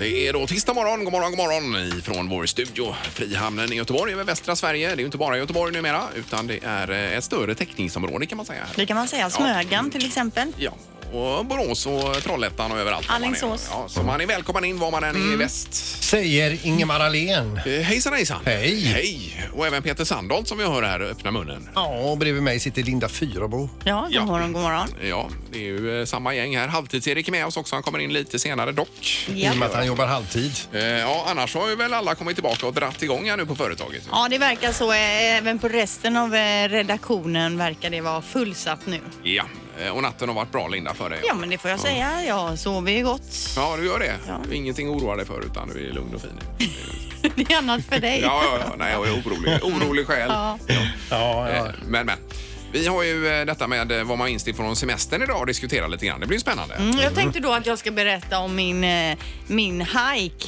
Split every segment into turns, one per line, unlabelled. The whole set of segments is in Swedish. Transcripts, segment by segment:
är då tisdag morgon, god morgon, god morgon från vår studio Frihamnen i Göteborg över västra Sverige. Det är ju inte bara Göteborg numera utan det är eh, ett större täckningsområde kan man säga. här.
Det kan man säga. Smögen till exempel.
Ja, och Borås och Trollhättan och överallt. var man är.
Alingsås.
Ja, så man är välkommen in var man än är i väst.
Säger Ingemar Ahlén.
Eh, Hejsan hejsan!
Hej.
Hej! Och även Peter Sandholt som vi hör här öppna munnen.
Ja, och bredvid mig sitter Linda Fyrabo.
Ja, god
Ja.
morgon, god morgon.
Ja, det är ju eh, samma gäng här. Halvtids-Erik är med oss också. Han kommer in lite senare dock.
I och med att
Ja.
han jobbar halvtid.
Eh, Ja, annars har ju väl alla kommit tillbaka och dratt igång här nu på företaget.
ja, det verkar så. eh, Även på resten av eh, redaktionen verkar det vara fullsatt nu.
Ja, eh, och natten har varit bra Linda för dig.
Ja, men det får jag säga. Jag sover ju gott.
Ja, du gör det.
Ja.
Ingenting att oroa dig för utan du är lugn och fin.
Det är annat för dig.
Ja, ja, ja. Nej, jag är orolig. Orolig själ.
Ja.
Ja,
Eh, Men, men. Vi har ju eh, detta med eh, vad man minns ifrån semestern idag och diskutera lite grann. Det blir ju spännande.
Mm, Jag tänkte då att jag ska berätta om min, eh, min hike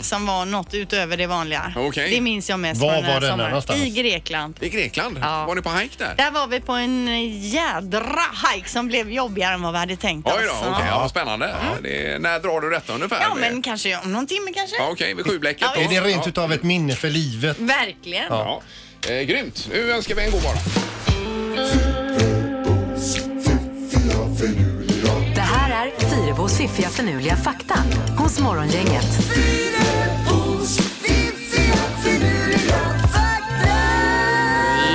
som var något utöver det vanliga.
Mm. Okej.
Det minns jag mest
Var
från den här
var denna
sommaren.
någonstans?
I Grekland.
I Grekland?
Ja.
Var ni på hike där?
Där var vi på en eh, jädra hike som blev jobbigare än vad vi hade tänkt
Oj då,
oss.
okej. ja, vad spännande. Ja, det, när drar du detta ungefär?
alltså. Mm. Ja, men kanske om någon timme kanske.
Ja, Okej, vid sjublecket.
Ja,
då.
Är det rent
Ja.
utav ett minne för livet?
Verkligen.
Ja. Eh, grymt. Nu önskar vi en god morgon.
Det här är Fyrabos fiffiga förnuliga fakta hos Morgongänget.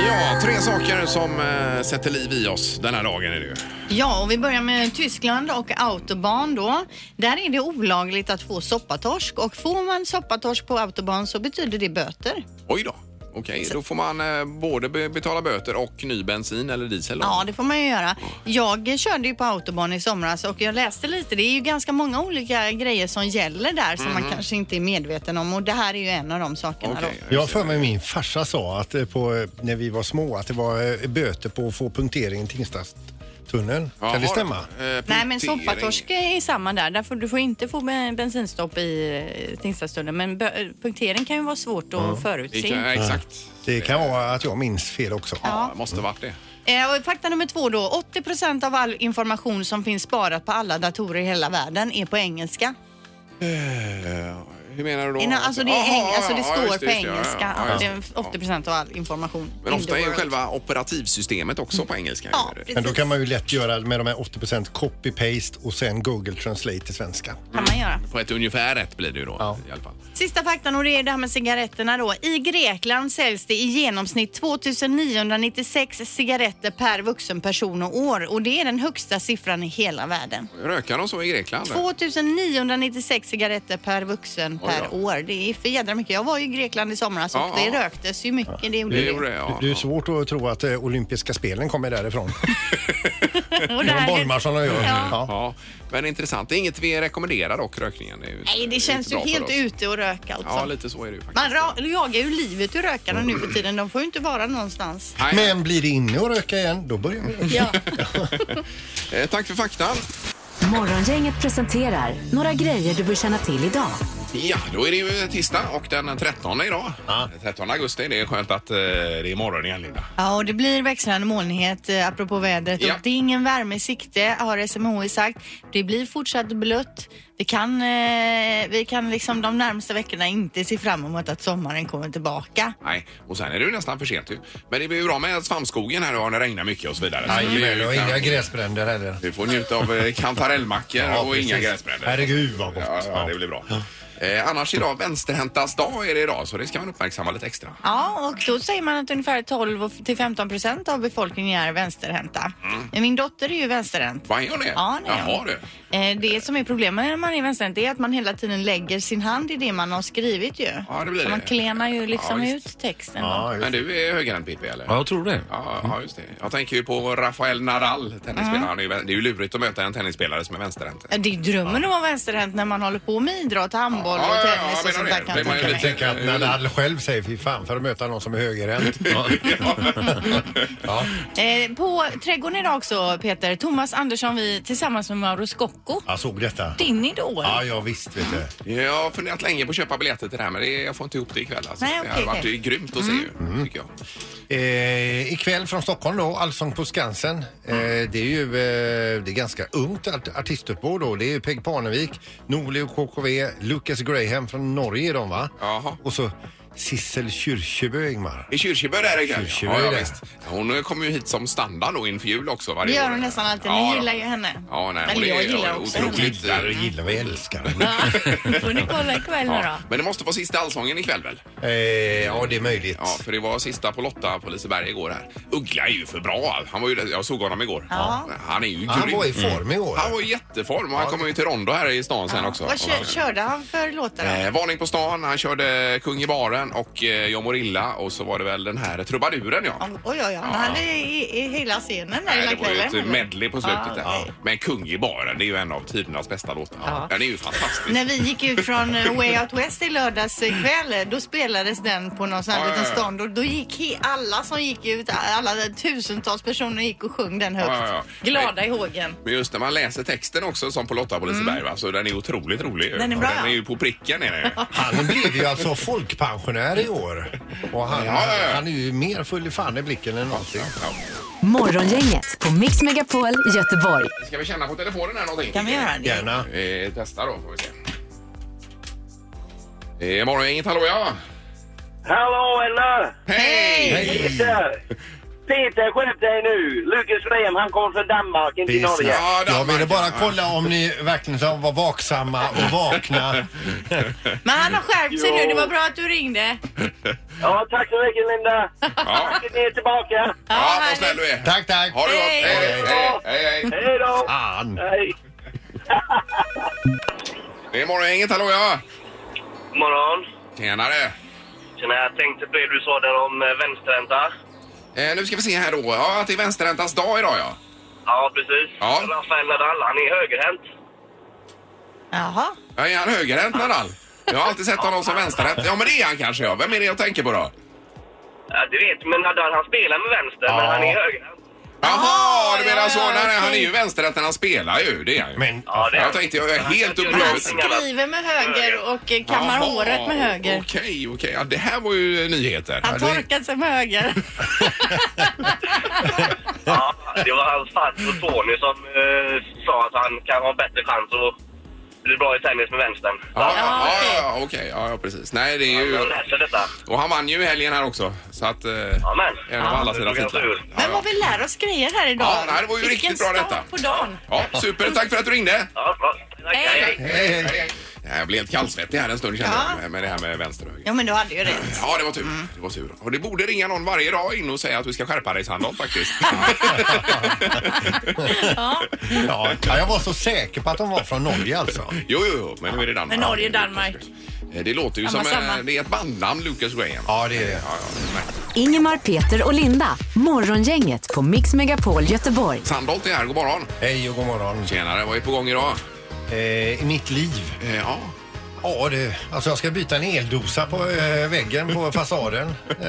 Ja, tre saker som eh, sätter liv i oss den här dagen är det ju.
Ja, och vi börjar med Tyskland och Autobahn då. Där är det olagligt att få soppatorsk och får man soppatorsk på Autobahn så betyder det böter.
Oj då. Okej, då får man eh, både be- betala böter och ny bensin eller diesel. då.
Ja, det får man ju göra. Jag körde ju på Autobahn i somras och jag läste lite. Det är ju ganska många olika grejer som gäller där som man kanske inte är medveten om och det här är ju en av de sakerna
Mhm. Okej,
då.
Jag har för mig min farsa sa att eh, på, eh, när vi var små att det var eh, böter på att få punktering i Tingstadstunneln.
Jaha,
Kan det stämma?
eh,
Nej men
punktering.
soppatorsk är samma där. Därför du får inte få ben- bensinstopp i eh, Tingstadstunneln. Men bö- eh, punktering kan ju vara svårt att
Det
förutse.
kan, ja, exakt.
Det kan vara att jag minns fel också.
Ja, det måste varit det.
Eh, och fakta nummer två då. 80 av all information som finns sparat på alla datorer i hela världen är på engelska.
Hur menar du då?
Innan- Alltså det, är
Jaha,
eng- alltså det
ja,
står
just
på
det, just det. Ja,
engelska.
ja, ja,
att det
ja.
är 80 av all information.
Men
in the
ofta är ju
world.
själva operativsystemet också på engelska.
Ja,
Är det?
precis.
Men då kan man ju lätt göra med de här 80 copy-paste och sen Google Translate till svenska.
kan man göra.
På ett ungefär rätt blir det ju då
Ja.
i alla fall.
Sista faktan och det är det här med cigaretterna då. I Grekland säljs det i genomsnitt 2996 cigaretter per vuxen person och år och det är den högsta siffran i hela världen.
Rökar de så i Grekland?
2996 cigaretter per vuxen
Oj
per
då.
år. Det är för jädra mycket. Jag var ju i Grekland i somras och
Ja,
det
ja.
röktes ju mycket. Det gjorde
Det
det.
gjorde det, ja.
Det är ju svårt att tro att eh, olympiska spelen kommer därifrån.
Och det
De
här-
bolmar som de gör.
Ja.
Ja.
Ja, men intressant. Det är inget vi rekommenderar dock, rökningen. är ju-
Nej,
är
det känns ju
bra för
helt
oss.
ute att röka alltså.
Ja, lite så är det ju faktiskt.
Man ra- jagar ju livet ur rökarna nu för tiden. De får ju inte vara någonstans.
Nej,
Men blir det inne att röka igen, då börjar vi röka.
Ja.
eh, tack för faktan.
Morgongänget presenterar några grejer du bör känna till idag.
Ja, då är det ju tisdag och den 13 idag. 13 augusti. Det är skönt att eh, det är morgon igen, Linda.
Ja, och det blir växlande molnighet eh, apropå vädret.
Ja.
Och det är ingen värme i sikte har SMHI sagt. Det blir fortsatt blött. Vi kan, eh, vi kan liksom de närmsta veckorna inte se fram emot att sommaren kommer tillbaka.
Nej, och sen är det ju nästan för sent. ju. Men det blir ju bra med svampskogen här och när det regnar mycket och så vidare. Så det blir ju
Jajamän, och
knappt-
inga gräsbränder heller.
Vi får njuta av eh, kantarellmackor och inga gräsbränder.
Herregud vad gott.
Ja, ja, det blir bra. Eh, annars idag, vänsterhäntas dag är det idag, så det ska man uppmärksamma lite extra.
Ja, och då säger man att ungefär 12 och- till 15 procent av befolkningen är vänsterhänta. Men Min dotter är ju vänsterhänt.
Vad är hon det?
Ja, nej.
Mm. Jaha, du.
Eh, Det som är problemet när man är vänsterhänt det är att man hela tiden lägger sin hand i det man har skrivit ju.
Ja, det blir
Så man
det.
klenar ju liksom
Ja,
ut texten.
Ja, just
Men du är högerhänt Pippi, eller?
Ja, jag tror det.
Ja, ja, just det. Jag tänker ju på Rafael Nadal, tennisspelaren. Han är ju, det är ju lurigt att möta en tennisspelare som är vänsterhänt.
Det är drömmen att vara vänsterhänt när man håller på med idrott, handboll
Ja, ja,
och
ja,
tennis
jag
och sånt
menar
där
det.
kan
Det
jag
var ju
tänka
lite-
Jag
mig.
tänker att Nadal själv säger fy fan för att möta någon som är högerhänt. Ja.
Eh, på trädgården idag också Peter, Thomas Andersson vi tillsammans med Mauro Scocco.
Jag såg detta.
Din idol.
Ja, ja visst vet du.
Jag har funderat länge på att köpa biljetter till det här men det, jag får inte ihop det ikväll. Alltså.
Nej,
det
okej, Mm.
hade varit
okej.
Mm.
grymt att se ju, tycker jag.
Eh, ikväll från Stockholm då, Allsång på Skansen. Eh,
Mm.
det är ju eh, det är ganska ungt art- artistuppbåd då. Det är ju Peg Parnevik, Norli och KKV, Lucas Graham från Norge är de va?
Jaha.
Och så Sissel Kyrkjebø, Ingmar.
I Kyrkjebø där ikväll.
Kyrkjebø
ja, ja,
där.
visst. Hon kommer ju hit som standard då inför jul också varje
Det gör
år.
hon nästan alltid.
Ja,
Ni
då.
gillar ju henne.
Ja, nej, hon
Eller jag
är-
gillar
hon är
också
otroligt
henne.
Gillar och
gillar och älskar.
Ja, får ni kolla ikväll nu då.
Ja. Men det måste vara sista allsången ikväll väl?
Eh, ja, det är möjligt.
Ja, för det var sista på Lotta på Liseberg igår här. Uggla är ju för bra. Han var ju, jag såg honom igår.
Ja.
Han är ju grym.
Han var i form i år.
Mm. Han var i jätteform och han kommer ju till Rondo här i stan sen också.
Vad kör, körde han för låtar då?
Eh, varning på stan, han körde Kung i baren och eh, Jag mår illa och så var det väl den här trubaduren ja.
Oj, oj, oj. Han hade i, i hela scenen där
Nej,
hela
det var ju
kvällen.
ett medley på slutet där.
Ja.
Men Kung i baren, det är ju en av tidernas bästa låtar.
Ja.
Den är ju fantastisk.
När vi gick ut från eh, Way Out West i lördags eh, kväll, då spelades den på någon sån här
Ja, ja,
liten
ja.
stånd och då gick he- alla som gick ut, alla tusentals personer gick och sjöng den högt.
Ja, ja, ja.
Glada i hågen.
Men just när man läser texten också som på Lotta på Liseberg va, så den är otroligt rolig. ju.
Mm. Den är bra,
Den är
ja.
ju på pricken är den ju.
Han blev ju alltså folkpensionär i år. Och han,
Ja, ja, ja.
han är ju mer full i fan i blicken än någonsin.
Ja.
Morgongänget på Mix Megapol Göteborg.
Ska vi känna på telefonen här någonting?
Kan vi göra det?
Gärna.
Eh, testa då får vi se. Eh, Morgongänget, hallå ja!
Hallå eller?
Hej!
Peter! Peter skärp dig nu! Lukas Graham han kommer från Danmark, inte
Det är
Norge.
Ja,
snabbt. Jag
Danmark,
ville bara
ja.
kolla om ni verkligen var vaksamma och vakna.
Men han har skärpt sig
Jo.
nu. Det var bra att du ringde.
Ja, tack så mycket Linda!
Ja,
Ni är tillbaka!
ja vad
härligt.
snäll du är!
Tack, tack.
Ha det gott!
Hej.
Hej, hej, hej, hej!
Hej då!
Fan.
Hej!
Det är Morgongänget, hallå ja!
Morgon!
Tjenare!
Tjena, jag tänkte på det du sa där om eh, vänsterhänta.
Eh, nu ska vi se här då. Ja, att det är vänsterhäntas dag idag ja.
Ja, precis.
Ja.
Rafael Nadal, han är högerhänt.
Jaha.
ja. Är han högerhänt Nadal? Jag har alltid sett honom som vänsterhänt. Ja men det är han kanske ja. Vem är det jag tänker på då?
Ja, det vet men Nadal han spelar med vänster, men
Ja.
han är högerhänt.
Jaha,
Ah,
du menar
ja,
så?
ja,
Nej, nej, han är
okej.
ju vänsterhänt när han spelar ju. Det är han ju.
Men
Ja, det är
Jag tänkte, jag är helt
Han
upplöst.
Han skriver med höger och eh, kammar
Alltså, Jaha,
håret med höger.
Okej, okej. Ja, det här var ju nyheter.
Han
det är-
torkar sig med höger.
Ja, det var hans farbror Tony som eh, sa att han kan ha bättre chans att bli bra i tennis med vänstern.
Ja,
Ja,
ja, ja,
okej.
ja, okej. Ja, ja, precis. Nej, det är
Jag
ju...
läser detta.
Och han vann ju i helgen här också. Så att... Eh,
Amen.
en av alla sina
Det tog jag
titlar.
ur.
Ja,
Men
ja.
vad vi lär oss grejer här idag.
Ja, nej, det var ju
Vilken
riktigt bra
start
detta.
på dagen.
Ja, super. Tack för att du ringde.
Ja, bra. Tack,
Hej.
hej.
Hej, hej.
Jag blev helt kallsvettig här en stund kände
Ja. Mm.
jag med- med det här med vänster och höger.
Ja, men du hade ju rätt.
Ja, det var tur. Det var tur. Och det borde ringa någon varje dag in och säga att du ska skärpa dig Sandholt faktiskt.
Ja, ja, jag var så säker på att de var från Norge alltså.
Jo, jo, jo, men nu är det Danmark.
Men Norge, Danmark.
Eh, Det låter ju
Samma,
som eh,
samma.
det är ett bandnamn, Lucas Graham.
Ja, det är det.
Ja, ja, nej.
Ingemar, Peter och Linda. Morgongänget på Mix Megapol Göteborg.
Sandholt är här, god morgon.
Hej och god morgon.
Tjenare, vad är på gång idag?
Eh, I mitt liv.
Eh, ja.
Ja, det, alltså jag ska byta en eldosa på eh, väggen på fasaden. Eh,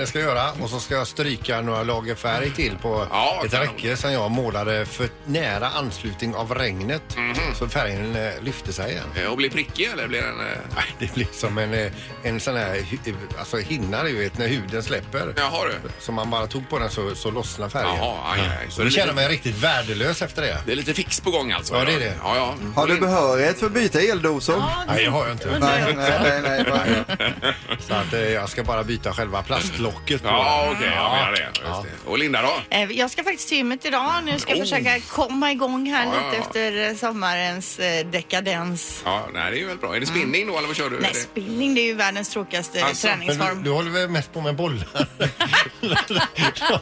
det ska jag göra. Och så ska jag stryka några lager färg till på
Ja,
ett
kanon.
räcke som jag målade för nära anslutning av regnet. Så färgen eh, lyfte sig igen.
Eh, Och blir prickig eller blir den... eh,
Nej, Det blir som en, eh, en sån här hu- alltså hinna du vet när huden släpper.
Jaha du.
Så man bara tog på den så, så lossnar färgen.
Jaha, aj, aj. Så
Så då
det, är
känner jag
lite,
mig riktigt värdelös efter det.
det är lite fix på gång alltså?
Ja, det är
idag.
det.
Ja, ja.
Har du behörighet för att byta eldosor?
Nej, det har jag inte.
Nej, nej, nej. nej, nej.
Så att, eh, jag ska bara byta själva plastlocket. på
Ja,
den.
okej, jag menar det. Just
Ja.
det. Och Linda då?
Eh, Jag ska faktiskt till gymmet idag. Nu ska jag
Oh.
försöka komma igång här
Ja, ja,
lite
ja.
efter eh, sommarens eh, dekadens.
Ja, nej, det är ju väl bra. Är det spinning då eller vad kör du?
Nej,
Det-
spinning det är ju världens tråkigaste
Alltså,
Men
träningsform.
du, du håller väl mest på med bollar? De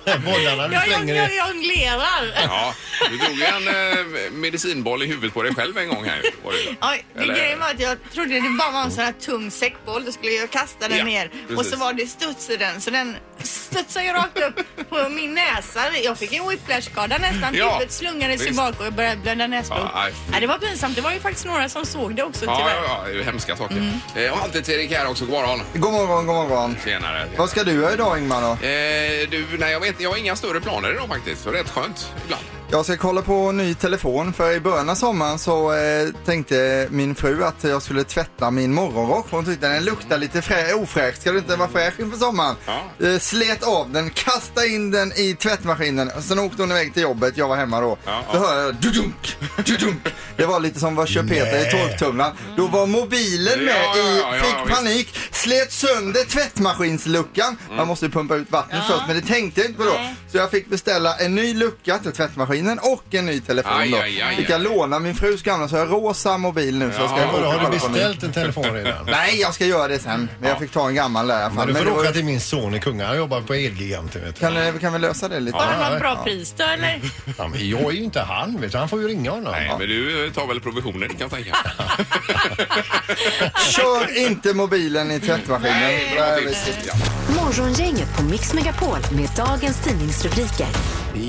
här bollarna du
jag, jag,
slänger
jag
i.
jonglerar.
Ja, du drog ju en eh, medicinboll i huvudet på dig själv en gång här. Var det ju.
Oj, det
Eller-
grejen var att jag trodde det bara var en sån här tung säckboll. Då skulle jag kasta den
Ja,
ner och
precis.
så var det studs i den så den studsade ju rakt upp på min näsa. Jag fick en whiplash-skada nästan.
Ja,
Huvudet slungades ju
visst.
bak och jag började blöda näsblod.
Ja, aj, fy.
Ja, det var pinsamt. Det var ju faktiskt några som såg det också
Ja, ja,
tyvärr.
ja, det är ju hemska saker. Eh, och alltid Erik här också. God morgon.
God morgon, god morgon.
Tjenare.
Vad ska du göra idag Ingmar då?
Eh, du, nej, jag, vet, jag har inga större planer idag faktiskt. Så det är rätt skönt ibland.
Jag ska kolla på ny telefon för i början av sommaren så eh, tänkte min fru att jag skulle tvätta min morgonrock. Hon tyckte den luktar lite frä- ofräsch. Ska du inte vara fräsch inför sommaren?
Ja.
Eh, slet av den, kasta in den i tvättmaskinen. Sen åkte hon iväg till jobbet, jag var hemma då.
Ja,
Då
ja.
hörde jag dudunk, dudunk. Det var lite som vad kör Peter i
Nej.
torktumlaren. Då var mobilen med
Ja, ja,
i,
ja, ja,
fick
visst.
panik, slet sönder tvättmaskinsluckan.
Mm.
Man måste ju pumpa ut vattnet först men det tänkte jag inte på då.
Nej.
Så jag fick beställa en ny lucka till tvättmaskinen och en ny telefon.
Aj,
då.
aj, aj,
fick
aj.
jag låna min frus gamla så jag har rosa mobil nu. Så jag ska
Ja,
åka
Vadå,
och
har du
kolla på min-
beställt en telefon redan?
Nej, jag ska göra det sen. Men jag fick ta en gammal där i alla
Men
fall.
du får
det var-
åka till min son i Kungälv. Han jobbar på Elgiganten. Vet du.
kan, eh, kan vi lösa det lite?
Har
Ja,
du något
ja.
bra pris då eller?
Ja, men jag är ju inte han. Vet du. Han får ju ringa honom.
Nej, men du eh, tar väl provisionen kan jag tänka.
Kör inte mobilen i tvättmaskinen.
Nej, bra
Nej,
tips.
visst.
Ja.
Morgongänget på Mix Megapol med dagens tidningsrubriker.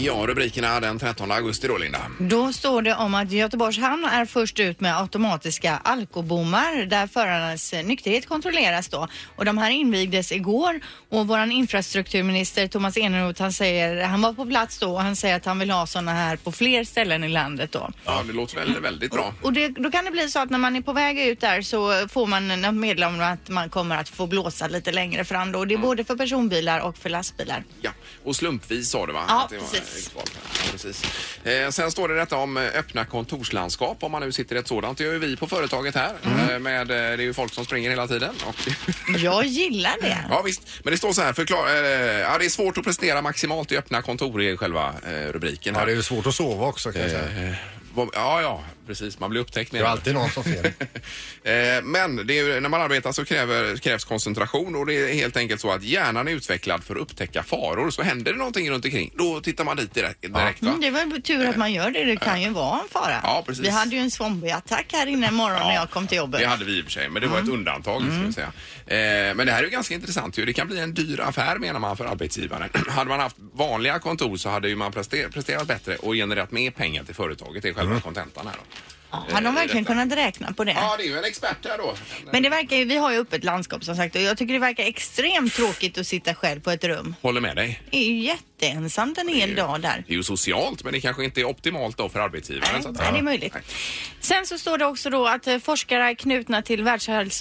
Ja, rubrikerna den 13 augusti då, Linda.
Då står det om att Göteborgs hamn är först ut med automatiska alkobommar där förarnas nykterhet kontrolleras då. Och de här invigdes igår och våran infrastrukturminister Thomas Eneroth han säger, han var på plats då och han säger att han vill ha sådana här på fler ställen i landet då.
Ja, det låter väldigt, väldigt bra.
Och det, då kan det bli så att när man är på väg ut där så får man något meddelande om att man kommer att få blåsa lite längre fram då. Och det är både för personbilar och för lastbilar.
Ja, och slumpvis sa du va?
Ja,
Att det var
precis.
ett val. Ja, precis. Eh, sen står det detta om eh, öppna kontorslandskap, om man nu sitter i ett sådant. Det gör ju vi på företaget här.
Mm.
Eh, med, eh, det är ju folk som springer hela tiden. Och
Jag gillar det.
ja, visst. Men det står så här, förklara, eh, ja, det är svårt att prestera maximalt i öppna kontor i själva eh, rubriken.
Ja,
Här.
det är ju svårt att sova också kan jag säga.
Eh, vad- ja, ja, precis. Man blir upptäckt
Det
med
är ju alltid någon som ser det.
Eh, Men det är, ju- när man arbetar så kräver, krävs koncentration och det är helt enkelt så att hjärnan är utvecklad för att upptäcka faror. Så händer det någonting runt omkring, då tittar man dit direkt. direkt va?
Mm, det var ju tur att man gör det. Det kan ju vara en fara.
Ja, precis.
Vi hade ju en zombieattack här inne imorgon när jag kom till jobbet.
Det hade vi i och för sig, men det var
Mm.
ett undantag. Ska jag säga. Eh, men det här är ju ganska intressant. Ju. Det kan bli en dyr affär menar man för arbetsgivaren. hade man haft vanliga kontor så hade ju man prester, presterat bättre och genererat mer pengar till företaget. Det är själva kontentan här. Då. Eh,
Hade Mm. de verkligen
detta.
kunnat räkna på det?
Ja, det är ju en expert här då.
Men det verkar ju, vi har ju öppet landskap som sagt och jag tycker det verkar extremt tråkigt att sitta själv på ett rum.
Håller med dig.
Det är ju jätteensamt en hel dag där.
Det är ju socialt, men det kanske inte är optimalt då för arbetsgivaren.
Nej,
så att
nej,
säga.
det är möjligt.
Nej.
Sen så står det också då att eh, forskare knutna till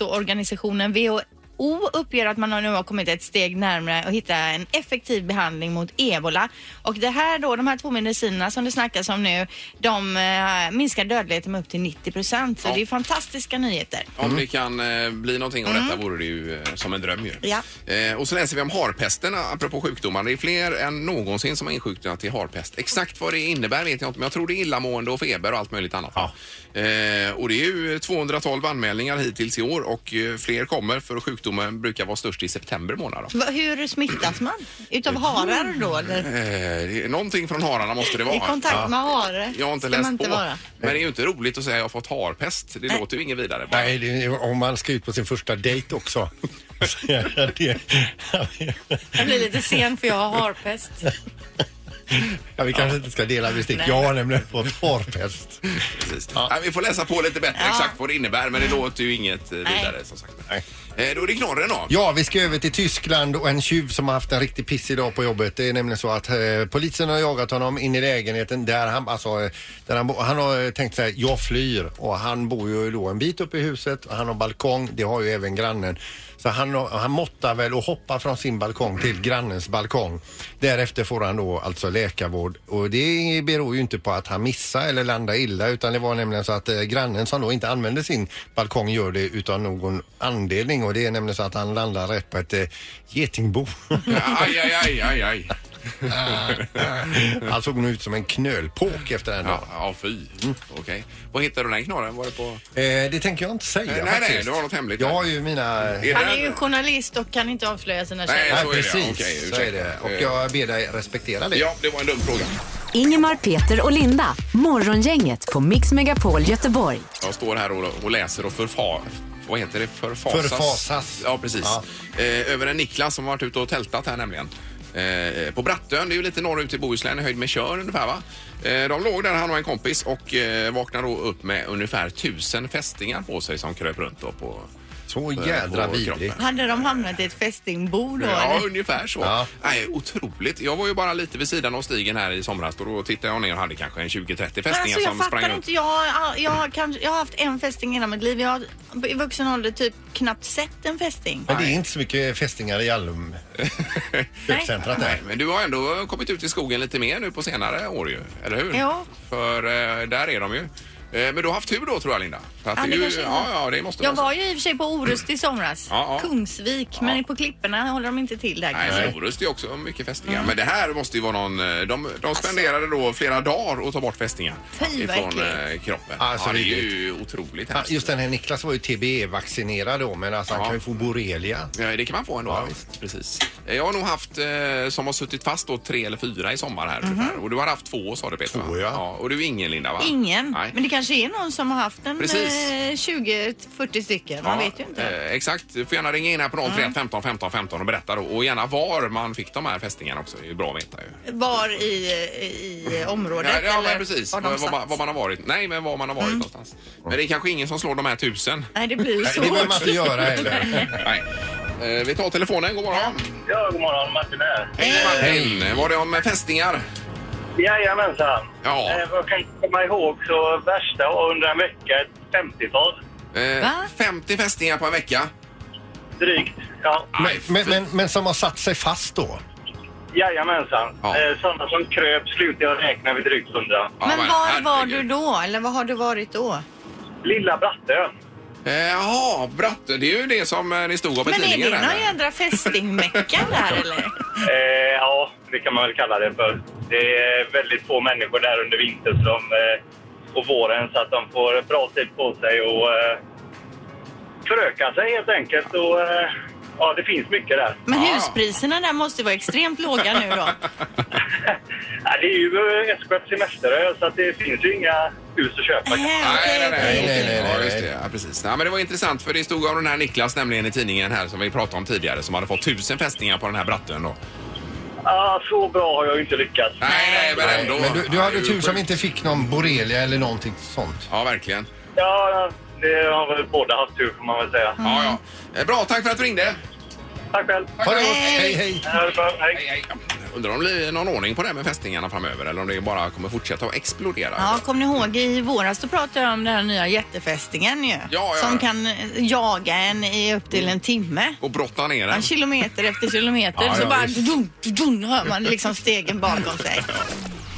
Världshälsoorganisationen WHO uppger att man nu har kommit ett steg närmare att hitta en effektiv behandling mot ebola. Och det här då, de här två medicinerna som det snackas om nu, de eh, minskar dödligheten med upp till 90 procent. Så
Ja.
det är fantastiska nyheter.
Om det kan eh, bli någonting av detta vore det ju eh, som en dröm ju.
Mm. Ja.
Eh, och så läser vi om harpesten apropå sjukdomar. Det är fler än någonsin som har insjuknat i harpest. Exakt vad det innebär vet jag inte men jag tror det är illamående och feber och allt möjligt annat.
Ja.
Eh, och det är ju 212 anmälningar hittills i år och eh, fler kommer för sjukdomen brukar vara störst i september månad. Då.
Va- Hur smittas man? Utav harar då? Eller?
Eh, det är någonting från hararna måste det vara.
Mm. I kontakt med hare?
Jag har inte
ska
läst
man inte
på.
Vara.
Men det är ju inte roligt att säga att jag har fått harpest. Det låter ju inget vidare.
Nej, det är, ju- om man ska ut på sin första dejt också. Så är det-
Jag blir lite sen för jag har harpest.
ja, vi kanske inte ska dela bestick. Jag har nämligen fått harpest.
Precis. Nej, vi får läsa på lite bättre exakt vad det innebär men det låter ju inget eh, vidare som sagt.
Nej.
Eh, Då är det knorren då.
Ja, vi ska över till Tyskland och en tjuv som har haft en riktig piss idag på jobbet. Det är nämligen så att eh, polisen har jagat honom in i lägenheten där han, alltså, eh, där han, bo- han har eh, tänkt så här, jag flyr. Och han bor ju då en bit upp i huset och han har balkong, det har ju även grannen. Så han, har- han måttar väl och hoppar från sin balkong till grannens balkong. Därefter får han då alltså läkarvård och det beror ju inte på att han missar eller landar illa utan det var nämligen så att eh, grannen som då inte använder sin balkong gör det utan någon anledning och det är nämligen så att han landar rätt på ett eh, getingbo.
Aj, aj, aj, aj, aj.
han såg nog ut som en knölpåk efter den
Ja,
dagen.
ja fy. Mm, Okej. Vad hittade du den knorren? Var det på...
Eh, det tänker jag inte säga
Nej, nej,
faktiskt.
det var något hemligt.
Jag har ju mina...
Är
Han
det-
är ju journalist och kan inte avslöja sina
Nej,
källor.
så
Nej,
är det, ja.
precis.
Okej,
så är
ursäkta.
det. Och
Eh.
jag ber dig respektera det.
Ja, det var en dum fråga.
Ingemar, Peter och Linda. Morgongänget på Mix Megapol Göteborg.
Jag står här och, och läser och förfar... Vad heter det? Förfasas.
Förfasas.
Ja, precis.
Ja.
Eh, över en Niklas som har varit ute och tältat här nämligen. Eh, på Brattön, det är ju lite norrut i Bohuslän, i höjd med Tjörn ungefär va? Eh, de låg där, han och en kompis, och eh, vaknade då upp med ungefär tusen fästingar på sig som kröp runt då på
Så
eh,
jädra
på
vidrigt.
kroppen.
Hade de hamnat i ett fästingbo då?
Ja,
eller?
ungefär så.
Ja.
Nej, otroligt. Jag var ju bara lite vid sidan av stigen här i somras och då tittade jag ner och hade kanske en 20-30
Men
fästingar
alltså, jag
som sprang
fattar
runt.
inte. Jag, har- jag, har kanske, jag har haft en fästing i hela mitt liv. Jag har i vuxen ålder typ knappt sett en fästing.
Men det är inte så mycket fästingar i Alm köpcentrat
Nej,
där.
men du har ändå kommit ut i skogen lite mer nu på senare år ju, eller hur?
Ja.
För eh, där är de ju. Eh, men du har haft tur då tror jag Linda. Så att
Ja,
det
det
är ju,
kanske är.
ja, ja, det måste
Jag
vara så.
var ju i och för sig på Orust i somras.
Ja, ja.
Kungsvik. Men på klipporna håller de inte till där
Nej,
kanske.
men Orust är ju också mycket fästingar.
Mm.
Men det här måste ju vara någon... eh, De, de spenderade då flera dagar att ta bort fästingar
Alltså- Fy, vad
ifrån
äckligt.
eh, kroppen.
Alltså,
ja, det är
riktigt.
ju otroligt
Ja,
hemskt.
Just den här Niklas var ju TBE-vaccinerad då men alltså han
Ja.
kan ju få borrelia.
Ja, det kan man få ändå. Ja. visst. Precis. Eh, Jag har nog haft, eh, som har suttit fast då, tre eller fyra i sommar här
Mhm.
ungefär. Och du har haft två sa du Peter?
Två,
va?
ja.
ja. Och du är ingen Linda va?
Ingen.
Nej.
Men det kanske är någon som har haft en eh,
Precis.
20-40 stycken. Man
Ja,
vet ju inte. Mm.
Eh, exakt. Du får gärna ringa in här på 031 15 15 15 och berätta då. Och gärna var man fick de här fästingarna också. Det är ju bra att veta ju.
Var i, i området?
Eh. Ja, ja
eller
men precis.
var
Var,
de Mm.
var, man-
satt?
var man har varit. Nej, men var man har varit någonstans. Men det är kanske ingen som slår de här tusen.
Nej, det blir ju
Nej,
så
det behöver man
hårt.
inte göra heller.
Nej. Eh, vi tar telefonen. God morgon.
Ja, god morgon. Martin här. Eh,
Hej Martin. Var det om fästingar?
Jajamensan.
Ja.
Eh, vad jag kan komma ihåg så värsta var under en vecka ett 50-tal.
Eh,
Va?
50 fästingar på en vecka.
Drygt. Ja.
Aj,
Men, men, men som har satt sig fast då.
Jajamensan.
Ja.
Eh, sådana som kröp slutade jag räkna vid drygt 100.
ja,
Men var var
herregud.
du då? Eller vad har du varit då?
Lilla Brattö.
Eh, Jaha, bratte. Det är ju det som eh, det stod om i
Men är
tidningen.
det
här.
någon jädra fästingmecka där eller?
Eh, ja, det kan man väl kalla det för. Det är väldigt få människor där under vintern så de, eh, och våren så att de får bra tid på sig och eh, föröka sig helt enkelt. Och, eh, ja, det finns mycket där.
Men
Ja.
huspriserna där måste ju vara extremt låga nu då.
Ja, det är ju eh, Eskilstuna Semesterö så att det finns ju inga hus att köpa.
Nej,
Nej, nej, nej.
Nej, nej, nej, nej.
Ja, just det. Ja, precis. Nej, men det var intressant för det stod om den här Niklas nämligen i tidningen här som vi pratade om tidigare som hade fått tusen fästingar på den här bratten då.
Ah, så bra har jag inte lyckats.
Nej, nej, men ändå.
Men du, du
Ja,
hade
det är
tur
ju
som
sjukt.
inte fick någon borrelia eller någonting sånt.
Ja, verkligen.
Ja, det har väl båda haft tur får man väl säga.
Ja, ja.
Mm.
Eh, Bra, tack för att du ringde.
Tack själv.
Ha det gott. Hej, hej.
Ha det bra. Hej.
Hej, hej. Undrar om det blir någon ordning på det här med fästingarna framöver eller om det bara kommer fortsätta att explodera.
Ja, kommer ni ihåg i våras då pratade jag om den här nya jättefästingen ju.
ja, ja.
Som kan eh, jaga en i upp till en timme.
Och brotta ner
Ja,
den.
kilometer efter kilometer
Ja,
så
ja,
bara
visst.
dun, dun, hör man liksom stegen bakom sig.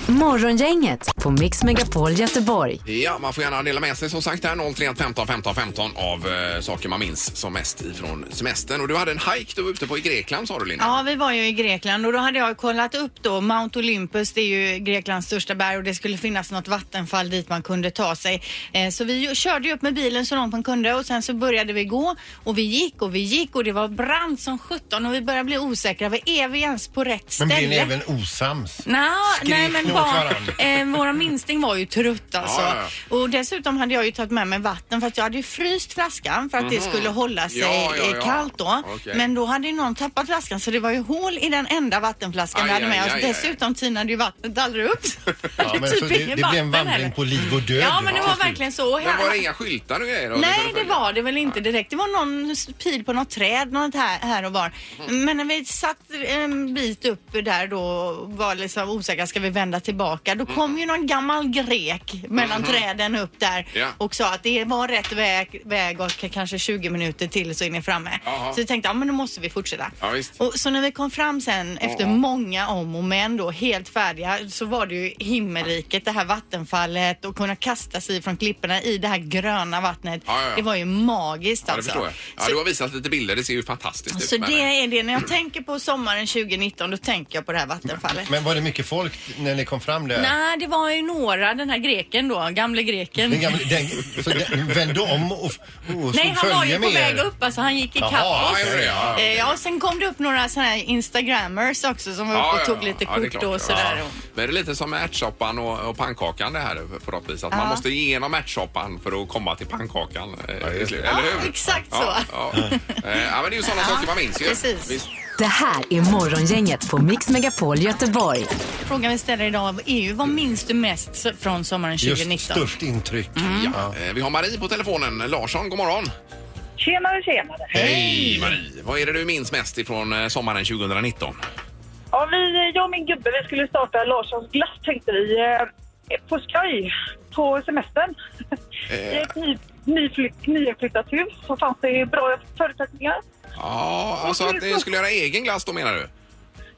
Morgongänget på Mix Megapol Göteborg.
Ja, man får gärna dela med sig som sagt här 031 15 15 15 av eh, saker man minns som mest ifrån semestern. Och du hade en hike du var ute på i Grekland sa du Linda.
Ja, vi var ju i Grekland och då hade jag kollat upp då Mount Olympus, det är ju Greklands största berg och det skulle finnas något vattenfall dit man kunde ta sig. Eh, så vi ju- körde ju upp med bilen så långt man kunde och sen så började vi gå och vi gick och vi gick och det var brant som sjutton och vi började bli osäkra. Var är vi ens på rätt
Men
ställe?
blir ni även osams?
Nå,
Skrek
nej
ni
men
åt
barn,
varandra?
eh, våra minsting var ju trött alltså.
Ja, ja,
Och dessutom hade jag ju tagit med mig vatten för att jag hade ju fryst flaskan för att det skulle hålla sig
Mhm. Ja, ja, ja.
eh, kallt då.
Okej.
Men då hade ju någon tappat flaskan så det var ju hål i den enda vattenflaskan vi
Aj,
hade med
aj,
oss.
aj, aj.
dessutom tinade ju vattnet aldrig upp. Så
Ja, men så det, det
typ ingen
blir en
vatten
vandring
heller.
på liv och död. alltså.
Ja men det
till
var
slut.
verkligen så. Och
Men var
här-
det inga skyltar och grejer? då?
Nej, det var det väl inte direkt. Det var någon pil på något träd något här, här och var.
Mm.
Men när vi satt en bit upp där då och var liksom osäkra, ska vi vända tillbaka? Då
Mm.
kom ju någon gammal grek mellan träden upp där
Mm-hmm. Ja.
och sa att det var rätt väg, väg och kanske 20 minuter till så är ni framme.
Jaha.
Så vi tänkte, ja men då måste vi fortsätta.
Ja, visst.
och så när vi kom fram sen efter många om och men då, helt färdiga, så var det ju himmelriket, det här vattenfallet och kunna kasta sig från klipporna i det här gröna vattnet.
Ja, ja, ja.
Det var ju magiskt
Ja, det
alltså.
förstår jag. Ja,
så
du har visat lite bilder. Det ser ju fantastiskt ut.
så
men-
det är det. När jag tänker på sommaren 2019 då tänker jag på det här vattenfallet.
Men var det mycket folk när ni kom fram där?
Nej, det var ju några, den här greken då, gamle greken.
Den gamla, den, så den vände om och, och
Nej, han var ju på
med
väg
er.
upp, alltså han gick ikapp
Jaha,
oss.
ja, ja, ja,
Eh, Ja, och sen kom det upp några såna här instagrammers också som var uppe
Ja,
och
ja,
tog
ja.
lite
Ja, det är
kort
klart,
och sådär.
ja.
Och-
Men det är lite som med ärtsoppan och, och pannkakan det här på något vis. Att man
Ja.
måste igenom ärtsoppan för att komma till pannkakan. eh, till slut, eller
Ja,
hur?
exakt
ja,
så.
Ja. Eh, ja, men det är ju sådana saker man minns ju.
precis.
Visst.
Det här är Morgongänget på Mix Megapol Göteborg.
Frågan vi ställer idag av EU, vad minns du mest s- från sommaren
Just
2019?
Mm.
störst intryck.
Ja. Eh, Vi har Marie på telefonen. Larsson, god morgon.
Tjenare, tjenare.
Hej Marie! Vad är det du minns mest ifrån eh, sommaren 2019?
Ja, vi, jag och min gubbe vi skulle starta Larssons glass tänkte vi. Eh, på skoj, på semestern. I
Eh.
ett ny, nyflytt, nyflyttat hus så fanns det bra förutsättningar.
Ja, alltså att ni skulle göra egen glass då menar du?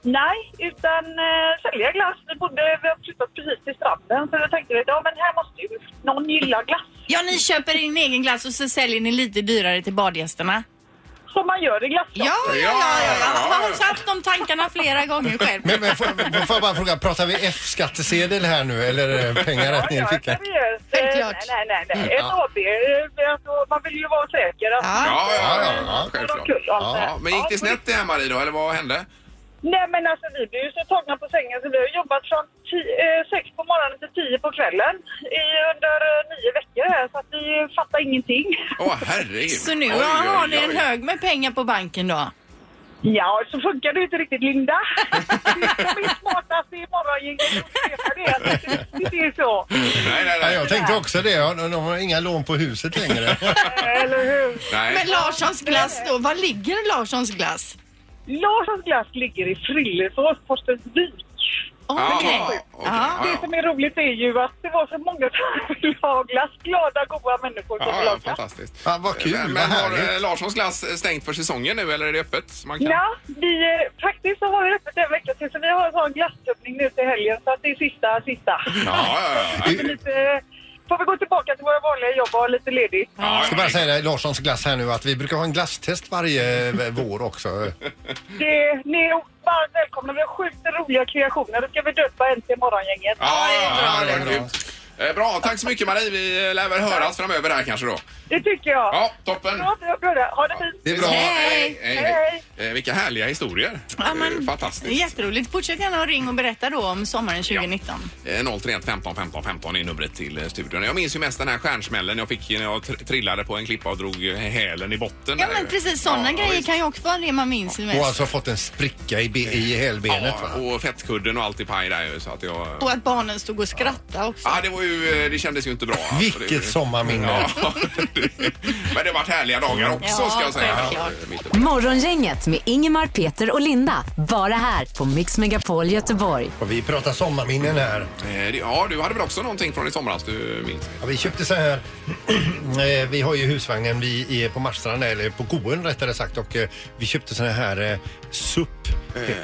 Nej, utan eh, sälja glass. Vi, bodde, vi har flyttat precis till stranden så då tänkte vi att ja, men här måste ju någon gilla glass.
Ja, ni köper in egen glass och så säljer ni lite dyrare till badgästerna.
Som man gör i
Ja,
glasskap.
ja, ja. ja, Jag har också haft de tankarna flera gånger själv.
Men, men får, får jag bara fråga, pratar vi F-skattesedel här nu eller eh, pengar rätt ner i fickan?
seriöst.
Helt
Eh,
klart.
Nej, nej, nej. Ett AB. eh, Alltså, man vill ju vara säker. Att
Ja.
Mm, Ja, ja, ja,
Ja, ja.
självklart.
Kul, alltså.
Ja, men gick det snett det här Marie då, eller vad hände?
Nej men alltså vi blev ju så tagna på sängen så vi har jobbat från ti- eh, sex på morgonen till tio på kvällen i under eh, nio veckor här så att vi fattar ingenting.
Åh, herregud.
Så nu
Oj, oj,
har ni
oj.
en hög med pengar på banken då?
Ja, så funkar det ju inte riktigt Linda. Det är mitt smartaste i morgongänget att upprepa det. Det är så.
Nej, nej,
Ja,
nej.
jag tänkte också det. Ja, De de har inga lån på huset längre.
Eller hur?
Men
nej.
Larssons glass då, var ligger Larssons glass?
Larssons glass ligger i Frillesås, Torstensvik.
Åh, okej.
Ja, okej.
Ja.
Det som är roligt är ju att det var så många som ville ha glass. Glada, goda människor som
Ja,
ville ha
ja,
glass.
fantastiskt.
Ja, vad kul,
men,
vad
men har
härligt.
eh, Larssons glass stängt för säsongen nu eller är det öppet? så Man kan...
Ja, vi, eh, faktiskt så har vi öppet en vecka till så vi har en sån glasstöppning nu till helgen så att det är sista, sista.
Ja, ja, ja.
Det är Lite, får vi gå tillbaka till våra vanliga jobb och ha lite ledigt.
ja,
Jag ska bara säga det, Larssons glass här nu, att vi brukar ha en glasstest varje eh, vår också.
Det, ni är varmt välkomna, vi har sjukt roliga kreationer. Då ska vi döpa en till morgongänget.
Ja, ja,
Ja,
det
det är
var
bra.
grymt. Eh, Bra, tack så mycket Marie. Vi eh, lär väl höras framöver här kanske då.
Det tycker jag.
Ja, toppen.
Bra, bra, bra. Ha det fint.
Det är bra.
Hej, hej,
Hej,
hej. Eh, Vilka härliga historier.
Ja,
Eh,
men,
Fantastiskt.
Jätteroligt. Fortsätt gärna och ring och berätta då om sommaren 2019.
Eh, 031 15 15 15 är numret till eh, studion. Jag minns ju mest den här stjärnsmällen jag fick när jag tr- trillade på en klippa och drog eh, hälen i botten.
Ja,
där
men
ju.
precis sådana
Ja,
grejer
visst.
kan ju också vara det man minns mest.
Och alltså fått en spricka i, be- i hälbenet.
Ja,
Va?
och fettkudden och allt i paj där ju, så att jag...
Och att barnen stod och skrattade också.
Ja, det var ju... eh, Det kändes ju inte bra. alltså. Det-
Vilket sommarminne.
Ja, det- men det har varit härliga dagar också
Ja,
ska jag säga. Eh,
självklart.
Morgongänget med Ingemar, Peter och Linda. Bara här på Mix Megapol Göteborg.
Och vi pratar sommarminnen här.
Eh, det- Ja, du hade väl också någonting från i somras du minns?
Ja, vi köpte så här. Eh, vi har ju husvagnen vi är på Marstrand, eller på Goen rättare sagt. Och eh, vi köpte såna här eh, SUP.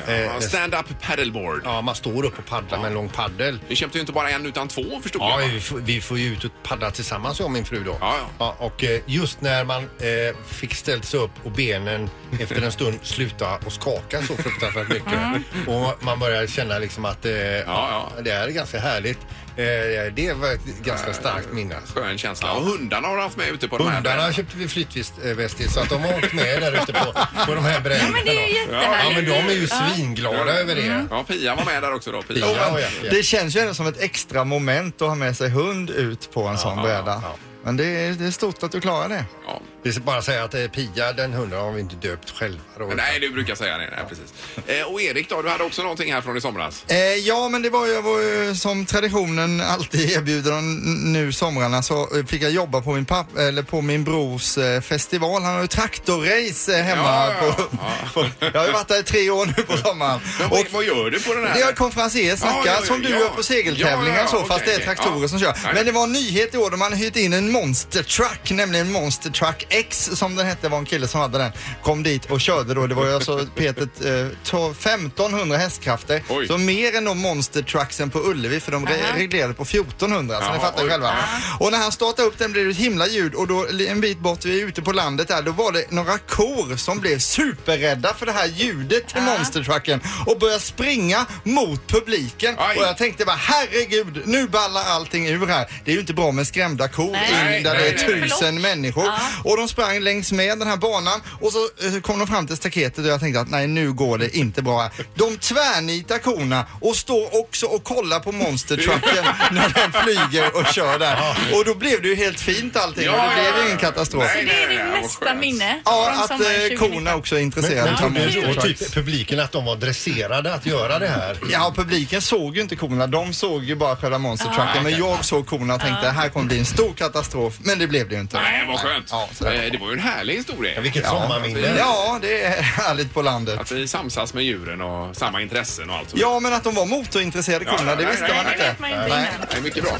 Ja, Stand-up paddleboard.
Eh, ja, man står upp och paddlar med en lång paddel.
Vi köpte ju inte bara en utan två förstod
Ja,
jag.
vi, får- vi får ju ut och paddla tillsammans jag och min fru då.
Ja, ja.
och eh, just när man eh, fick ställt sig upp och benen efter en stund sluta och skaka så fruktansvärt mycket. Och man börjar känna liksom att eh,
Mm. ja.
det här är ganska härligt. Eh, det var ett ganska starkt minne. alltså.
Skön känsla. Och hundarna har du haft med ute på de här.
Hundarna köpte vi flyttväst till så att de har åkt med där ute på, på de här brädorna.
Ja, men det är ju
Ja, men
jättehärligt.
de är ju svinglada över det.
Mm.
Ja, Pia var med där också då. Pia.
Ja, ja, ja.
Det känns ju ändå som ett extra moment att ha med sig hund ut på en sån bräda.
ja.
Men det är, det är stort att du klarar det.
Ja.
Vi ska bara säga att eh, Pia, den hunden har vi inte döpt själva. Då,
Men Nej, du brukar säga det. Nej, precis. Eh, Och Erik då, du hade också någonting här från i somras.
Eh, ja, men det var ju var ju som traditionen alltid erbjuder de nu somrarna så eh, fick jag jobba på min, papp, eller på min brors eh, festival. Han har ju traktorrace eh, hemma.
Ja, ja, ja.
På, på, jag har ju varit där i tre år nu på sommaren.
Men vad, vad gör du på den här?
Det är konferencier, snackar
Ja, ja, ja,
som du
ja.
gör på segeltävlingar
Ja, ja,
så,
okej,
fast det är
okej.
traktorer
Ja.
som kör.
Nej.
Men det var en nyhet i år då man hyrt in en monster truck, nämligen Monster Truck X som den hette, var en kille som hade den. Kom dit och körde då, det var ju alltså Peter eh, to- 1500 hästkrafter.
Oj.
Så mer än de monster trucksen på Ullevi för de re- reglerade på 1400 så ni
Jaha,
fattar
oj.
ju själva. Och när han startade upp den blev det ett himla ljud och då li- en bit bort, vi är ute på landet där, då var det några kor som blev superrädda för det här ljudet till monstertrucken och började springa mot publiken.
Aj.
Och jag tänkte bara herregud, nu ballar allting ur här. Det är ju inte bra med skrämda kor
Nej,
in där
nej,
det är
nej.
tusen människor. Och de sprang längs med den här banan och så eh, kom de fram till staketet och jag tänkte att nej nu går det inte bra här. De tvärnitar korna och står också och kollar på monstertrucken när den flyger och kör där. Och då blev det ju helt fint allting och det blev ju ingen katastrof.
Nej,
Det är
nej, nej,
ditt
vad
nästa
skönt.
minne
Ja,
från
att
sommaren
eh,
2019.
korna också är
Men,
intresserade
men
av
trodde ju då
monstertrucks.
typ publiken att de var dresserade att göra det här?
Ja, publiken såg ju inte korna. De såg ju bara själva
Ah.
monstertrucken. Men jag såg korna och tänkte här kommer bli en stor katastrof. Men det blev det ju inte.
Nej, vad skönt.
Ja, så
Eh, Det var ju en härlig historia.
Ja, vilket sommarminne.
Ja, det är härligt på landet.
Att vi samsas med djuren och samma intressen och allt sånt.
Ja, men att de var motorintresserade
Ja,
kunderna, det
nej,
visste
nej,
man
nej,
inte.
det vet
man inte innan.
Det är mycket bra.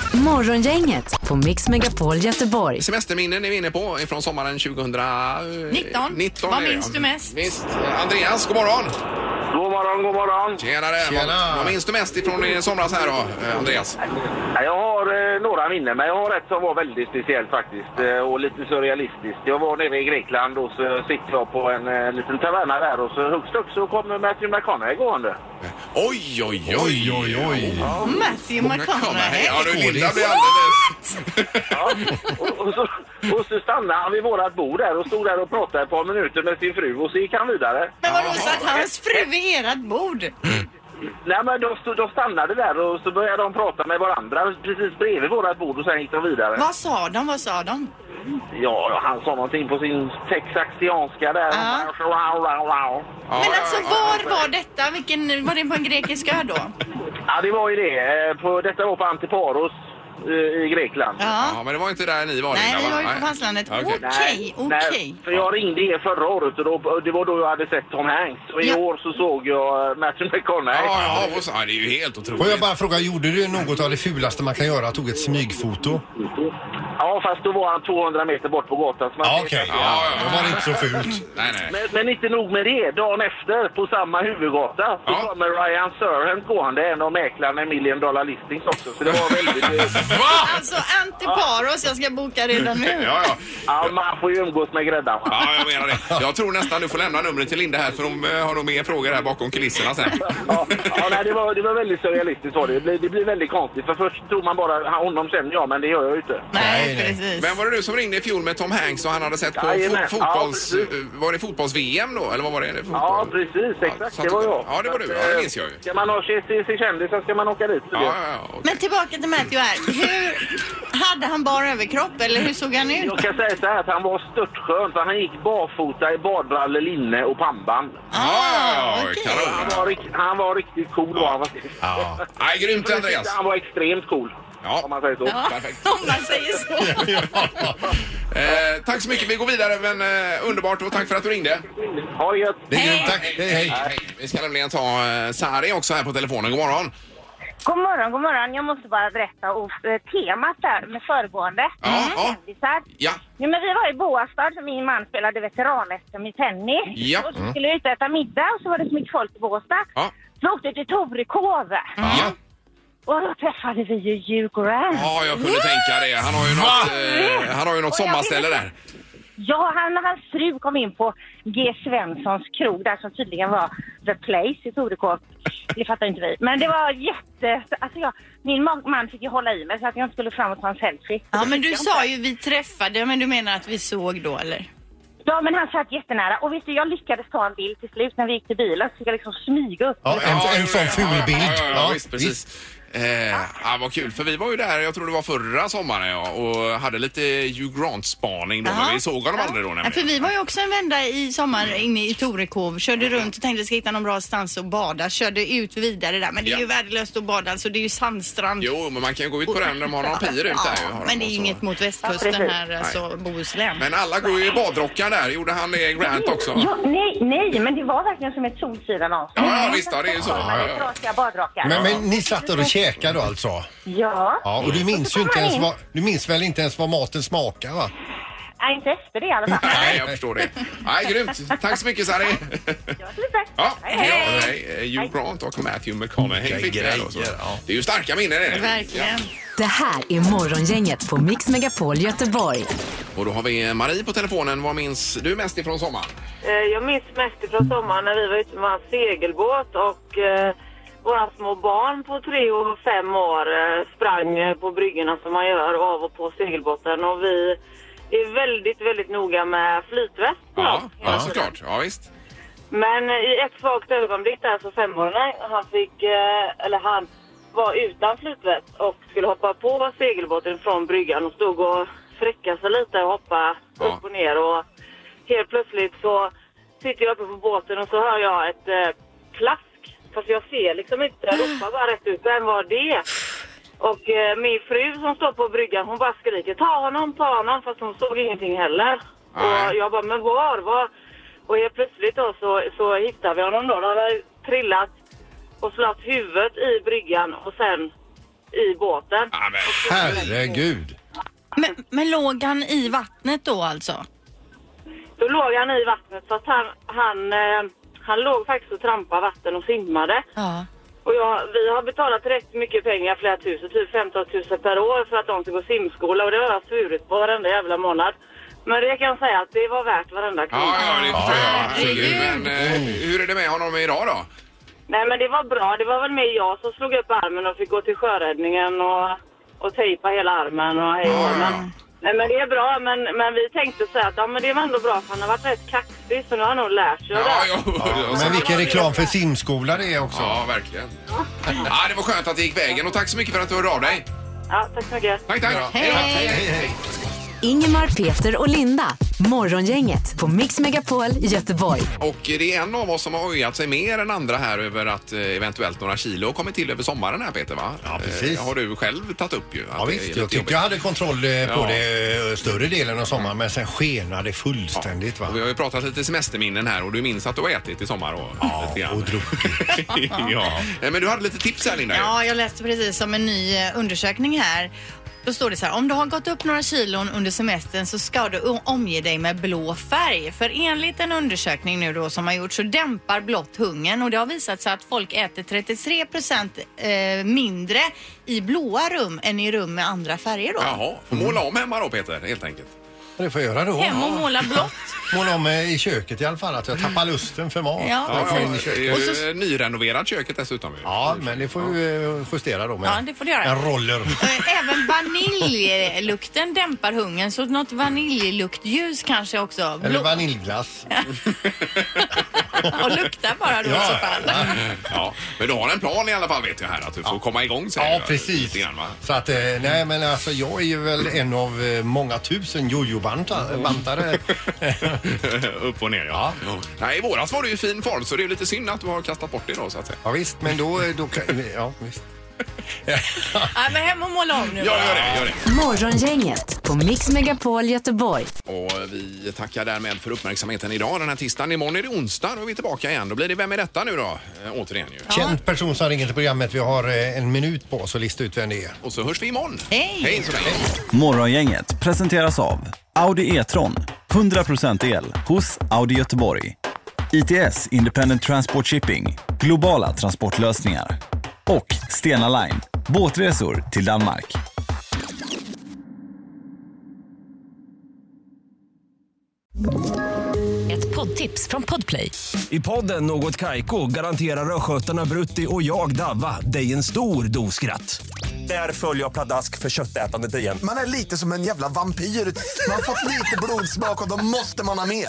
Morgongänget på Mix Megapol Göteborg.
Semesterminnen är vi inne på från sommaren 2019.
19. Vad minns du mest?
Visst. Andreas, god morgon!
God morgon, god morgon.
Tjenare!
Tjena.
Vad, vad minns du mest ifrån i somras här då, eh, Andreas?
Ja, Jag har eh, några minnen, men jag har ett som var väldigt speciellt faktiskt eh, och lite surrealistiskt. Jag var nere i Grekland och så sitter jag på en eh, liten taverna där och så högst upp så kommer Matthew McConaughey gående.
Oj, oj, oj! oj, oj.
Matthew McConaughey.
Ja, du, Linda blir alldeles...
Ja, och, och, så, och så stannade han vid vårat bord där och stod där och pratade ett par minuter med sin fru och så gick han vidare.
Men vadå, satt hans fru vid ert bord?
Nej men de, stod, de stannade där och så började de prata med varandra precis bredvid vårat bord och sen gick de vidare.
Vad sa de? Vad sa de?
Ja, han sa någonting på sin texaxianska där.
Ja.
Ja.
Ja,
Men
ja,
alltså,
ja,
var var detta? Vilken, var det på en grekisk ö då?
Ja, det var ju det. Eh, På, detta var på Antiparos eh, i Grekland.
Ja.
Ja, men det var inte där ni var
Nej,
Linda,
vi
va?
var ju på
Nej.
fastlandet.
Okej.
Okej, okej.
nej, för jag ringde er förra året och då, och det var då jag hade sett Tom Hanks. Och i
Ja.
år så såg jag eh, Matthew McConaughey.
Ja, ja, och så, ja, det är ju helt otroligt.
Får jag bara fråga, gjorde du något av det fulaste man kan göra? Tog ett smygfoto?
Ja, fast då var han 200 meter bort på gatan. så man
Ja,
tänkte-
okej.
Ja,
Då
ja,
var det inte så fult.
nej, nej.
Men, men inte nog med det. Dagen efter, på samma huvudgata, så
Ja.
kommer Ryan Serhant gående, en av mäklarna i Million Dollar Listings också. Så det var väldigt... eh,
Va?
Alltså Antiparos, jag ska boka redan nu.
Ja, ja.
ja, man får ju umgås med gräddan. va?
ja, jag menar det. Jag tror nästan du får lämna numret till Linda här för hon eh, har nog mer frågor här bakom kulisserna sen.
Ja, ja nej, det, var, det var väldigt surrealistiskt var det. Det blir, det blir väldigt konstigt. För först tror man bara "Han- honom känner jag, men det gör jag ju inte.
Nej,
Nej, nej.
precis.
Men var det du som ringde i fjol med Tom Hanks och han hade sett på fo-
Jajamän.
fotbolls...
Ja, precis.
eh, var det fotbolls-VM då? Eller vad var det? Fotboll?
Ja, precis. Exakt.
så att-
det var jag.
Ja, det var du.
Så
Ja,
att,
det
eh,
minns jag ju.
Ska man ha sig till sig kändisen ska man åka dit. för
Ja,
det.
ja, ja. okej.
Men tillbaka till Matthew här. Hur, hade han bara överkropp eller hur såg han ut?
Jag kan säga så här att han var störtskön för han gick barfota i badbrallor, linne och pannband.
Ja, ja,
Ah, okej.
ja.
Han
Kanon.
var, rikt- han var riktigt cool var han.
Ja.
Nej, grymt Andreas.
Han var extremt cool.
Ja.
Om man säger så.
Ja,
Perfekt.
om man säger så.
Eh, tack så mycket. Vi går vidare, men eh, underbart och tack för att du ringde.
Ha det gött.
Det är grymt, tack. Hej, hej.
Vi ska nämligen ta eh, Sari också här på telefonen. God morgon.
God morgon, god morgon. Jag måste bara berätta om eh, temat där med föregående. Mm,
Ja, ja.
Kändisar.
Ja.
Jo, men vi var i Båstad, så min man spelade veteran-SM i tennis.
Ja.
Och så skulle vi ut och äta middag och så var det så mycket folk i Båstad.
Ja.
Så vi åkte till Torekov
Ja.
och då träffade vi ju Hugh Grant.
ja, jag kunde tänka det. Han har ju något, eh, han har ju
Mm. Och
något
jag
sommarställe
ville-
där.
Ja, han och hans fru kom in på G. Svenssons krog där som tydligen var The Place i Torekov. Det fattar inte vi. Men det var jätte... Alltså jag, min ma- man fick ju hålla i mig så att jag inte skulle fram och ta en selfie.
Ja, men du sa ju vi träffade, men du menar att vi såg då eller?
Ja, men han satt jättenära. Och vet du, jag lyckades ta en bild till slut när vi gick till bilen. Så fick jag liksom smyga upp.
Ja,
Ja,
en, en
jo,
sån
ja,
ful bild.
Ja, ja, ja, visst, precis. Eh, ja, vad kul, för vi var ju där, jag tror det var förra sommaren ja, och hade lite Hugh Grant-spaning då, men
Ja.
vi såg honom aldrig då
Ja, för
nämligen. Mm.
vi var ju också en vända i sommar inne i Torekov, körde runt och tänkte ska hitta någon bra stans att bada, körde ut vidare där. Men det är ju
Ja.
värdelöst att bada, alltså det är ju sandstrand.
Jo, men man kan ju gå ut på den, de har någon pir ut
Ja,
där ju, har de
men det är ju
också.
inget mot västkusten
Ja, precis.
här, alltså Bohuslän.
Men alla går ju i badrockar där, gjorde han det Grant också?
Ja, nej, nej, men det var verkligen som ett solsidanavsnitt.
Ja, ja, visst, ja, det är ju så. Ja, ja, ja.
Trasiga badrockar.
Men, men ni satt där och käkade då alltså?
Ja.
Ja, och du minns ju inte ens vad, du minns väl inte ens vad maten smakar va?
Nej, inte efter det i alla fall.
Nej, jag förstår det. Nej, grymt. Tack så mycket, Sari.
Ja, lite.
Ja,
Hej,
ja,
hej.
hej. Hugh Grant och Matthew McConaughey fick vi där då, så.
grejer, ja.
Det är ju starka minnen. Är det.
Verkligen.
Det här är Morgongänget på Mix Megapol Göteborg.
Och då har vi Marie på telefonen. Vad minns du mest ifrån sommaren?
Eh, Jag minns mest från sommaren när vi var ute med hans segelbåt och eh, våra små barn på tre och fem år eh, sprang eh, på bryggorna som man gör och av och på segelbåten och vi är väldigt, väldigt noga med flytväst. på
Ja,
dem hela
ja
tiden.
såklart. Ja, visst.
Men eh, i ett svagt ögonblick där så femåringen, han fick, eh, eller han var utan flytväst och skulle hoppa på segelbåten från bryggan och stod och fräcka sig lite och hoppa
Ja.
upp och ner och helt plötsligt så sitter jag uppe på båten och så hör jag ett eh, plask. Fast jag ser liksom inte, jag ropar bara rätt ut, vem var det? Och eh, min fru som står på bryggan hon bara skriker ta honom, ta honom fast hon såg ingenting heller. Och jag bara, men var, var? Och helt plötsligt då så, så hittade vi honom då. Han hade trillat och slagit huvudet i bryggan och sen i båten.
Herregud.
Men, men låg han i vattnet då alltså?
Då låg han i vattnet så att han, han, eh, han låg faktiskt och trampade vatten och simmade.
Ja.
Och jag, vi har betalat rätt mycket pengar, flera tusen, typ 15 000 per år för att de ska gå simskola och det har jag svurit på varenda jävla månad. Men det kan jag säga att det var värt varenda krona.
Ja, det förstår jag. Herregud. Men eh, hur är det med honom idag då?
Nej men det var bra, det var väl mer jag som slog upp armen och fick gå till sjöräddningen och, och tejpa hela armen och hej och men, Nej men det är bra, men, men vi tänkte så här att ja men det var ändå bra för han har varit rätt kaxig så nu har han nog lärt sig det.
Men vilken reklam för simskola det är också.
Ja, verkligen. Ja, det var skönt att det gick vägen och tack så mycket för att du hörde av dig.
Ja, tack så mycket.
Tack, tack. Hej, hej.
Ingemar, Peter och Linda. Morgongänget på Mix Megapol Göteborg.
Och det är en av oss som har ojat sig mer än andra här över att eh, eventuellt några kilo har kommit till över sommaren här Peter va? Ja
precis.
har du själv tagit upp ju.
Ja, visst, jag tyckte jag hade kontroll eh, på
Ja.
det eh, större delen av sommaren men sen skenade det fullständigt va.
Och vi har ju pratat lite semesterminnen här och du minns att du har ätit i sommar och Ja, och druckit. ja. Eh, Men du hade lite tips här Linda. ju.
Ja, jag läste precis om en ny eh, undersökning här. Då står det så här, om du har gått upp några kilon under semestern så ska du o- omge dig med blå färg. För enligt en undersökning nu då som har gjorts så dämpar blått hungern och det har visat sig att folk äter 33 procent eh, mindre i blåa rum än i rum med andra färger då.
Jaha, får måla om hemma då Peter helt enkelt.
Det får jag göra då.
Hem och måla blått.
Måla om eh, i köket i alla fall, att jag tappar lusten för mat.
Ja.
Jag får in i
det är ju
köket. Och så-
nyrenoverat köket dessutom. ju.
Ja, men det får vi eh, justera då med
Ja, det får du göra.
en roller.
Eh, Även vaniljlukten dämpar hungern så något vaniljluktljus kanske också.
Eller
Blå-
vaniljglass.
och lukta bara då i så fall.
Ja, men du har en plan i alla fall vet jag här att du får komma igång sen.
Ja,
ju,
precis.
lite grann, va?
Så att, eh, nej men alltså jag är ju väl en av eh, många tusen jojo-bantare.
Upp och ner ja. Nej, I våras var du i fin form så det är lite synd att du har kastat bort det då så att säga.
Ja, visst, men då... eh, då kan, ja, visst.
Nej, men hem och måla om nu
Ja,
bara.
gör det, gör det.
Morgongänget på Mix Megapol Göteborg.
Och vi tackar därmed för uppmärksamheten idag den här tisdagen. Imorgon är det onsdag och vi är tillbaka igen. Då blir det Vem är detta nu då? Eh, återigen ju.
Känd person som ringer till programmet. Vi har eh, en minut på oss att lista ut vem det är.
Och så hörs vi imorgon.
Hej!
Hej så länge.
Morgongänget presenteras av Audi E-tron. 100% el hos Audi Göteborg. ITS Independent Transport Shipping. Globala transportlösningar. Och Stena Line. Båtresor till Danmark.
Ett poddtips från Podplay.
I podden Något Kaiko garanterar östgötarna Brutti och jag, Davva, dig en stor dos skratt. Där följer jag pladask för köttätandet igen.
Man är lite som en jävla vampyr. Man har fått lite blodsmak och då måste man ha mer.